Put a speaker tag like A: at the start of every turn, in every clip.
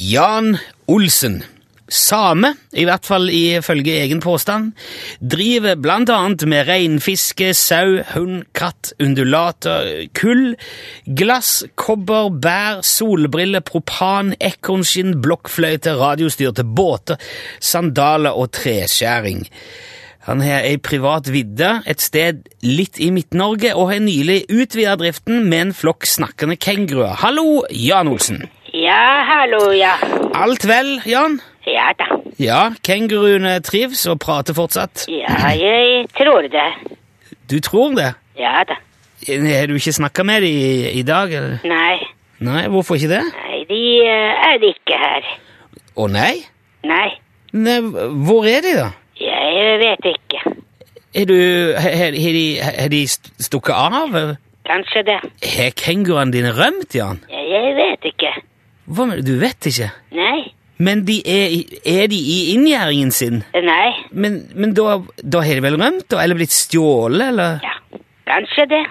A: Jan Olsen, same, i hvert fall ifølge egen påstand, driver blant annet med reinfiske, sau, hund, katt, undulater, kull, glass, kobber, bær, solbriller, propan, ekornskinn, blokkfløyte, radiostyrte båter, sandaler og treskjæring. Han har ei privat vidde et sted litt i Midt-Norge, og har nylig utvida driften med en flokk snakkende kenguruer. Hallo, Jan Olsen.
B: Ja, hallo, ja.
A: Alt vel, Jan?
B: Ja da.
A: Ja, kenguruene trivs og prater fortsatt.
B: Ja, jeg tror det.
A: Du tror det?
B: Ja da.
A: Har du ikke snakka med dem i, i dag? eller?
B: Nei,
A: Nei, hvorfor ikke det?
B: nei, de eh, er ikke her.
A: Å nei?
B: Nei,
A: nei? Hvor er de, da?
B: jeg vet ikke.
A: Er du Har har de, har de st- stukket av?
B: Kanskje det.
A: Har kenguruene dine rømt, Jan?
B: Ja, Jeg vet ikke.
A: Hva mener du? Du vet ikke?
B: Nei,
A: Men de er, i- er de i inngjerdingen sin?
B: nei,
A: Men, men da, da har de vel rømt, da? Eller blitt stjålet, eller?
B: ja. Kanskje det.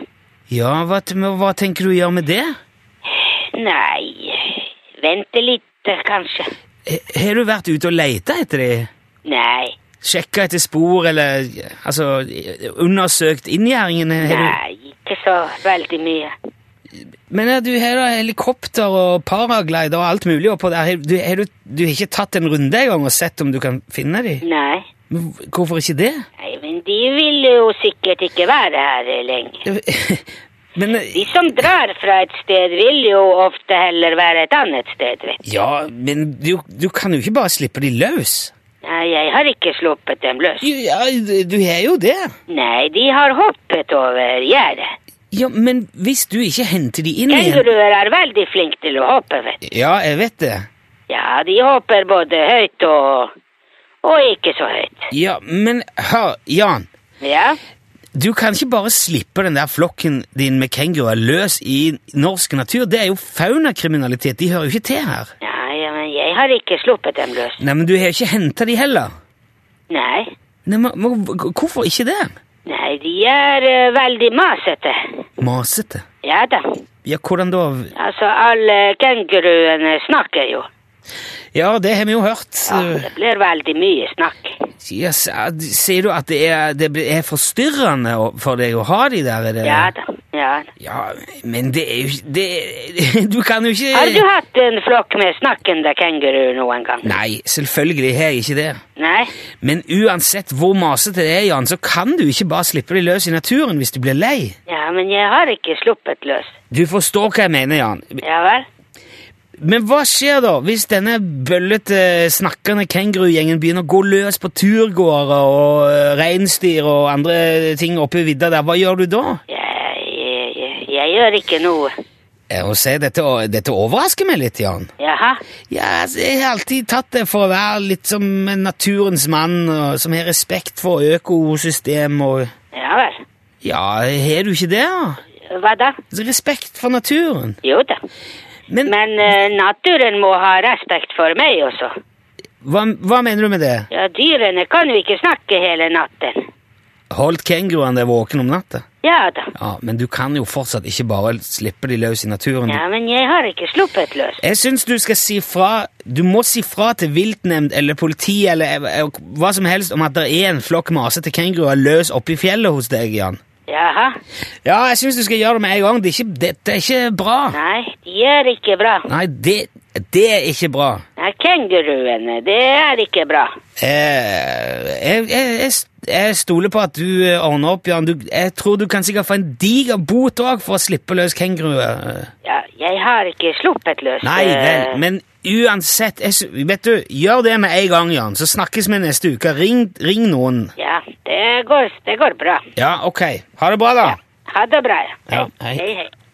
A: Ja, hva, men hva tenker du å gjøre med det?
B: Nei, vente litt, eh, kanskje.
A: Har- Har du vært ute og leita etter dem?
B: Nei,
A: Sjekka etter spor, eller altså, undersøkt inngjerdingen? Har du-
B: nei, ikke så veldig mye.
A: Men ja, du har da helikopter og paraglider og alt mulig oppå der. Har Du har du, du har ikke tatt en runde engang og sett om du kan finne dem?
B: Nei,
A: Hvorfor ikke det?
B: nei, men de vil jo sikkert ikke være her eh, lenge.
A: Men
B: De som drar fra et sted vil jo ofte heller være et annet sted, vet du.
A: Ja, men du, du kan jo ikke bare slippe dem løs.
B: Nei, jeg har ikke sluppet dem løs.
A: Jo, Ja, du har jo det.
B: Nei, de har hoppet over gjerdet.
A: Ja, men hvis du ikke henter de inn igjen
B: Kenguruer er veldig flinke til å hoppe, vet du.
A: Ja, jeg vet det.
B: Ja, de hopper både høyt og og ikke så høyt.
A: Ja, men hør, Jan.
B: Ja,
A: Du kan ikke bare slippe den der flokken din med kenguruer løs i norsk natur. Det er jo faunakriminalitet. De hører jo ikke til her.
B: Nei, ja, men jeg har ikke sluppet dem løs.
A: Nei, men du har jo ikke henta de heller.
B: Nei,
A: Nei, men, men Hvorfor ikke det?
B: nei, de er eh, veldig masete.
A: Masete.
B: Ja da.
A: Ja, hvordan da?
B: Altså, alle kenguruene snakker jo.
A: Ja, det har vi jo hørt.
B: Ja, det blir veldig mye snakk.
A: Ja, s- ja, d- sier du at det er, det blir- er forstyrrende å- for deg å ha de der? Er det?
B: Ja da. Ja. da.
A: ja, men det er jo ikke det, Du kan jo ikke
B: Har du hatt en flokk med snakkende kenguruer noen gang?
A: Nei, selvfølgelig har jeg ikke det.
B: Nei?
A: Men uansett hvor masete det er, Jan, så kan du ikke bare slippe de løs i naturen hvis du blir lei.
B: Ja, men jeg har ikke sluppet løs.
A: Du forstår hva jeg mener, Jan.
B: Ja vel?
A: Men hva skjer da hvis denne bøllete, snakkende kengurugjengen begynner å gå løs på turgåere og eh, reinsdyr og andre ting oppe i vidda der? Hva gjør du da?
B: Jeg, jeg, jeg, jeg gjør ikke noe.
A: Eh, Å si dette, dette overrasker meg litt, Jan.
B: Jaha?
A: Ja, altså, jeg har alltid tatt det for å være litt som en naturens mann, og, som har respekt for økosystem og
B: Ja vel.
A: Ja, har du ikke det? da?
B: Hva da?
A: Altså, Respekt for naturen.
B: Jo da.
A: Men
B: Men eh, naturen må ha respekt for meg også.
A: hva, hva mener du med det?
B: Ja, dyrene kan jo ikke snakke hele natten.
A: Holdt kenguruen deg våken om natta?
B: Ja da.
A: Ja, men du kan jo fortsatt ikke bare slippe de løs i naturen.
B: Ja, men jeg har ikke sluppet løs.
A: Jeg syns du skal si fra Du må si fra til viltnemnd eller politi eller eh, eh, hva som helst om at det er en flokk masete kenguruer løs oppe i fjellet hos deg, Jan.
B: Jaha?
A: Ja, jeg syns du skal gjøre det med en gang. Det er ikke, dette er ikke bra.
B: Nei, de er ikke bra.
A: Nei, det, det er ikke bra.
B: Nei, kenguruene, det er ikke bra.
A: Eh, jeg, jeg, jeg, jeg stoler på at du eh, ordner opp, Jan. Du, jeg tror du kan sikkert få en diger bot òg for å slippe løs kenguruer. Eh,
B: Ja, jeg har ikke sluppet løs.
A: Nei vel,
B: eh,
A: men uansett jeg, sy- Vet du, Gjør det med en gang, Jan, så snakkes vi neste uke. Ring, ring noen.
B: Ja, det går, det går bra.
A: Ja, ok. Ha det bra, da.
B: Ha det bra. ja.
A: Ja, hei.
B: hei, hei.